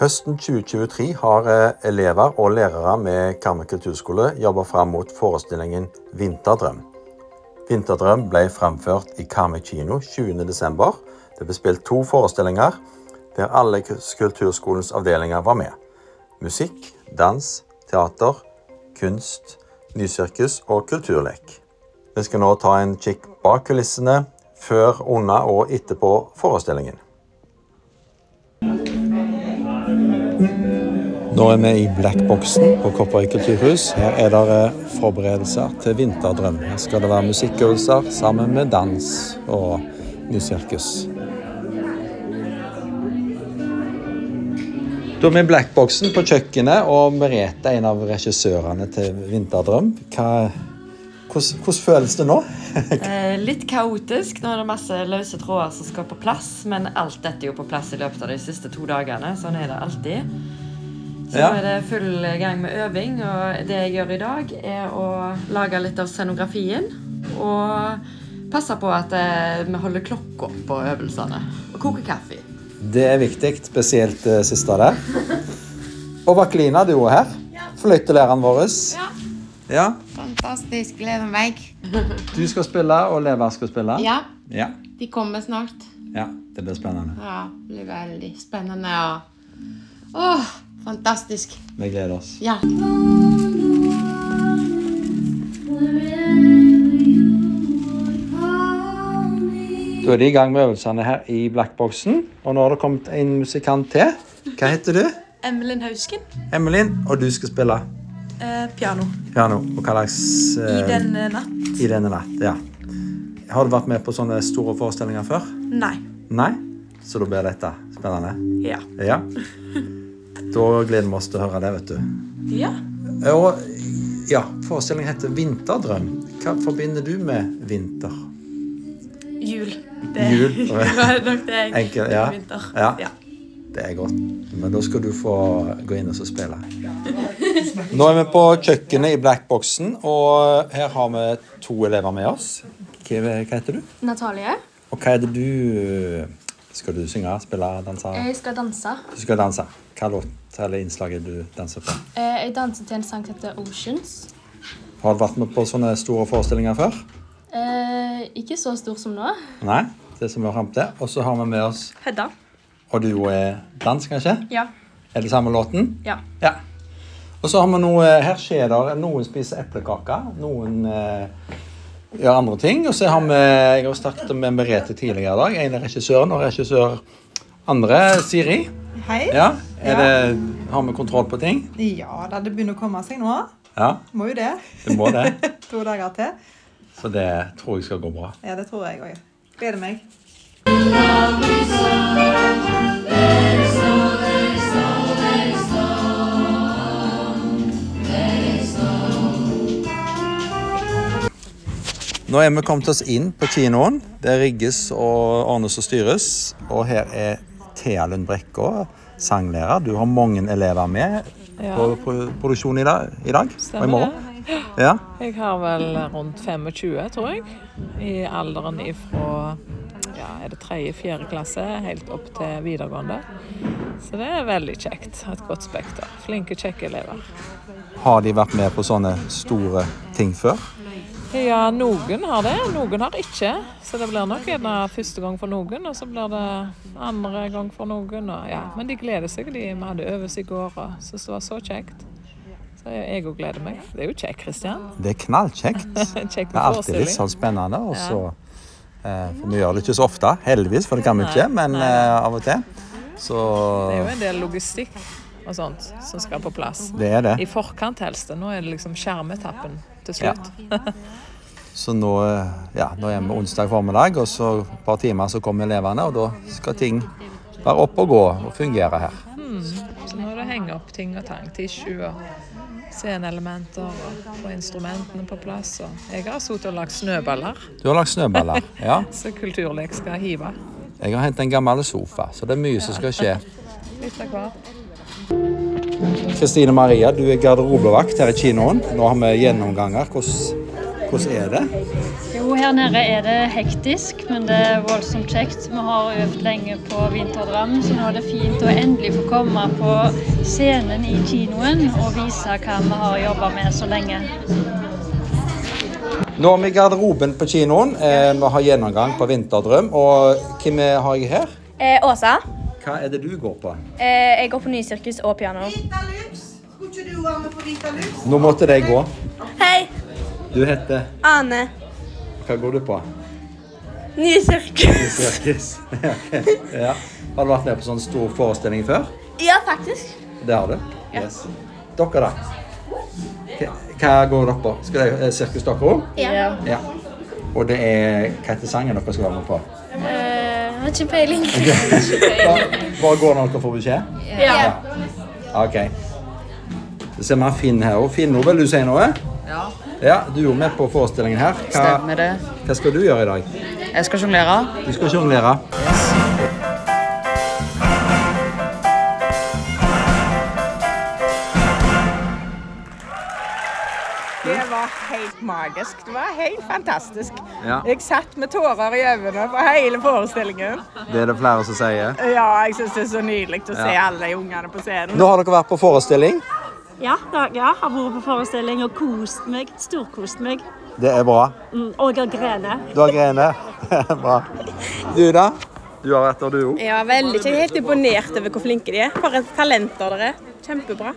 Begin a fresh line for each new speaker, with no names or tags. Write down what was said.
Høsten 2023 har eh, elever og lærere med Karmøy kulturskole jobba fram mot forestillingen Vinterdrøm. Vinterdrøm ble framført i Karmøy kino 20.12. Det ble spilt to forestillinger der alle kus- kulturskolens avdelinger var med. Musikk, dans, teater, kunst, nysirkus og kulturlek. Vi skal nå ta en kikk bak kulissene, før, under og etterpå forestillingen. Nå er vi i Blackboxen på Kopperøy kulturhus. Her er det eh, forberedelser til Vinterdrøm. Her skal det være musikkøvelser sammen med dans og nysirkus. Da er vi i Blackboxen på kjøkkenet, og Merete er en av regissørene til Vinterdrøm. Hva, hvordan, hvordan føles det nå?
Eh, litt kaotisk. Nå er det masse løse tråder som skal på plass, men alt dette er jo på plass i løpet av de siste to dagene. Sånn er det alltid. Så
Ja.
nå er det full gang med øving, og det jeg gjør i dag, er å lage litt av scenografien. Og passe på at eh, vi holder klokka på øvelsene. Og koke kaffe.
Det er viktig, spesielt det siste der. Og Vakelina, du er her. Fløytelæreren vår. Ja.
Fantastisk. Gleder meg.
Du skal spille, og Leva skal spille.
Ja,
ja.
de kommer snart.
Ja, Det blir spennende.
Ja, det blir veldig spennende og Åh, fantastisk.
Vi gleder oss.
Ja.
Da er de i gang med øvelsene her i Blackboxen. Og nå har det kommet en musikant til. Hva heter du?
Emmelin Hausken,
Emmelin. Og du skal spille
eh, piano.
piano. Og hva slags
I
eh,
den eh, natt?
I denne natt. Ja. Har du vært med på sånne store forestillinger før?
Nei.
Nei? Så da blir dette spennende.
Ja.
Ja. Da gleder vi oss til å høre det, vet du.
Ja.
Og ja, forestillingen heter Vinterdrøm. Hva forbinder du med vinter?
Jul. Det
Jul.
var nok det jeg
Enkel, ja.
Vinter.
Ja.
ja.
Det er godt. Men da skal du få gå inn og så spille. Nå er vi på kjøkkenet i Blackboxen, og her har vi to elever med oss. Hva, hva heter du?
Natalie.
Og hva er det du Skal du synge, spille, danse?
Jeg skal danse.
Du skal danse. Hva låt eller innslag er det du danser på?
Eh, Jeg danser til en sang som heter Oceans.
Har du vært med på sånne store forestillinger før?
Eh, Ikke så stor som nå.
Nei? Det som vi har frem til. Og så har vi med oss
Hedda.
Og du er dans, kanskje?
Ja.
Er det samme låten?
Ja.
Ja. Og så har vi noe eh, Her skjer det Noen spiser eplekaker, noen eh, gjør andre ting. Og så har vi Jeg har snakket med Merete tidligere i dag. En er regissøren, og regissør andre, Siri.
Hei. Ja.
Ja, er det, Har vi kontroll på ting?
da, det begynner å komme seg nå.
Ja,
Må jo det.
det må det.
To dager til.
Så det tror jeg skal gå bra.
Ja, det tror jeg òg. Gleder meg.
Nå er vi kommet oss inn på kinoen. Det rigges og ordnes og styres. Og her er Thea Lund Brekka, sanglærer. Du har mange elever med på pro- produksjonen i dag, i dag og i morgen. Ja.
Jeg har vel rundt 25, tror jeg. I alderen ifra ja, er det tredje, fjerde klasse helt opp til videregående. Så det er veldig kjekt. Et godt spekter. Flinke, kjekke elever.
Har de vært med på sånne store ting før?
Ja, noen har det, noen har ikke. Så det blir nok gjerne første gang for noen, og så blir det andre gang for noen. Og ja. Men de gleder seg. De vi hadde øvelse i går og syntes det var så kjekt. Så jeg òg gleder meg. Det er jo kjekt, Kristian.
Det er knallkjekt.
Kjekk
Det er alltid litt sånn spennende. Og så, eh, for vi gjør det ikke så ofte, heldigvis, for det kan vi ikke, men eh, av og til. Så
Det er jo en del logistikk og sånt som skal på plass.
det er det.
I forkant helst. Nå er det liksom skjermetappen til slutt.
Så nå, ja, nå er vi onsdag formiddag, og så et par timer så kommer elevene, og da skal ting være oppe og gå og fungere her.
Så nå er det å henge opp ting og tang. Tissue og sceneelementer og få instrumentene på plass. Og jeg har sittet og lagd snøballer
Du har lagt snøballer. Ja.
som Kulturlek skal hive.
Jeg har hentet en gammel sofa, så det er mye som skal skje.
Litt av hvert.
Kristine Maria, du er garderobevakt her i kinoen. Nå har vi gjennomganger. Hvordan Hvordan er det?
Jo, her nede er det hektisk, men det er voldsomt kjekt. Vi har øvd lenge på Vinterdram, så nå er det fint å endelig få komme på scenen i kinoen og vise hva vi har jobba med så lenge.
Nå er vi i garderoben på kinoen. Eh, vi har gjennomgang på Vinterdrøm. Og hvem er- har jeg her?
Eh, Åsa,
Hva er det du går på?
eh, jeg går på nysirkus og piano.
Vita Lux! Skulle ikke du være med på Vita Lux?
Nå måtte de gå.
Hei,
Du heter
Ane.
Hva går du på?
Nysirkus.
Sirkus. ja. Har du vært med på sånn stor forestilling før?
Ja, faktisk.
Det har du? Yes. Dere, da? Hva- Hva går dere på? Skal det eh, sirkus dere òg?
Ja.
Ja. Og det er hva heter sangen dere skal være med på?
Eh, har ikke peiling.
Hva går når dere får beskjed?
Ja.
OK. Så ser vi har Finn her òg. Finn, nå vil du si noe?
Ja.
Ja, Du er jo med på forestillingen her. Hva,
det.
hva skal du gjøre i dag?
Jeg skal sjonglere.
Du skal sjonglere.
Det var helt magisk. Det var helt fantastisk.
Ja.
Jeg satt med tårer i øynene på hele forestillingen.
Det er det flere som sier.
Ja, jeg syns det er så nydelig å se
Ja.
alle de ungene på scenen.
Nå har dere vært på forestilling.
Ja, jeg har vært på forestilling og kost meg. Storkost meg.
Det er bra.
Og jeg har grener.
Du har grener. bra. Du, da? Du har vært der, du òg.
Ja, veldig. Jeg er helt imponert over hvor flinke de er. For talenter dere er. Kjempebra.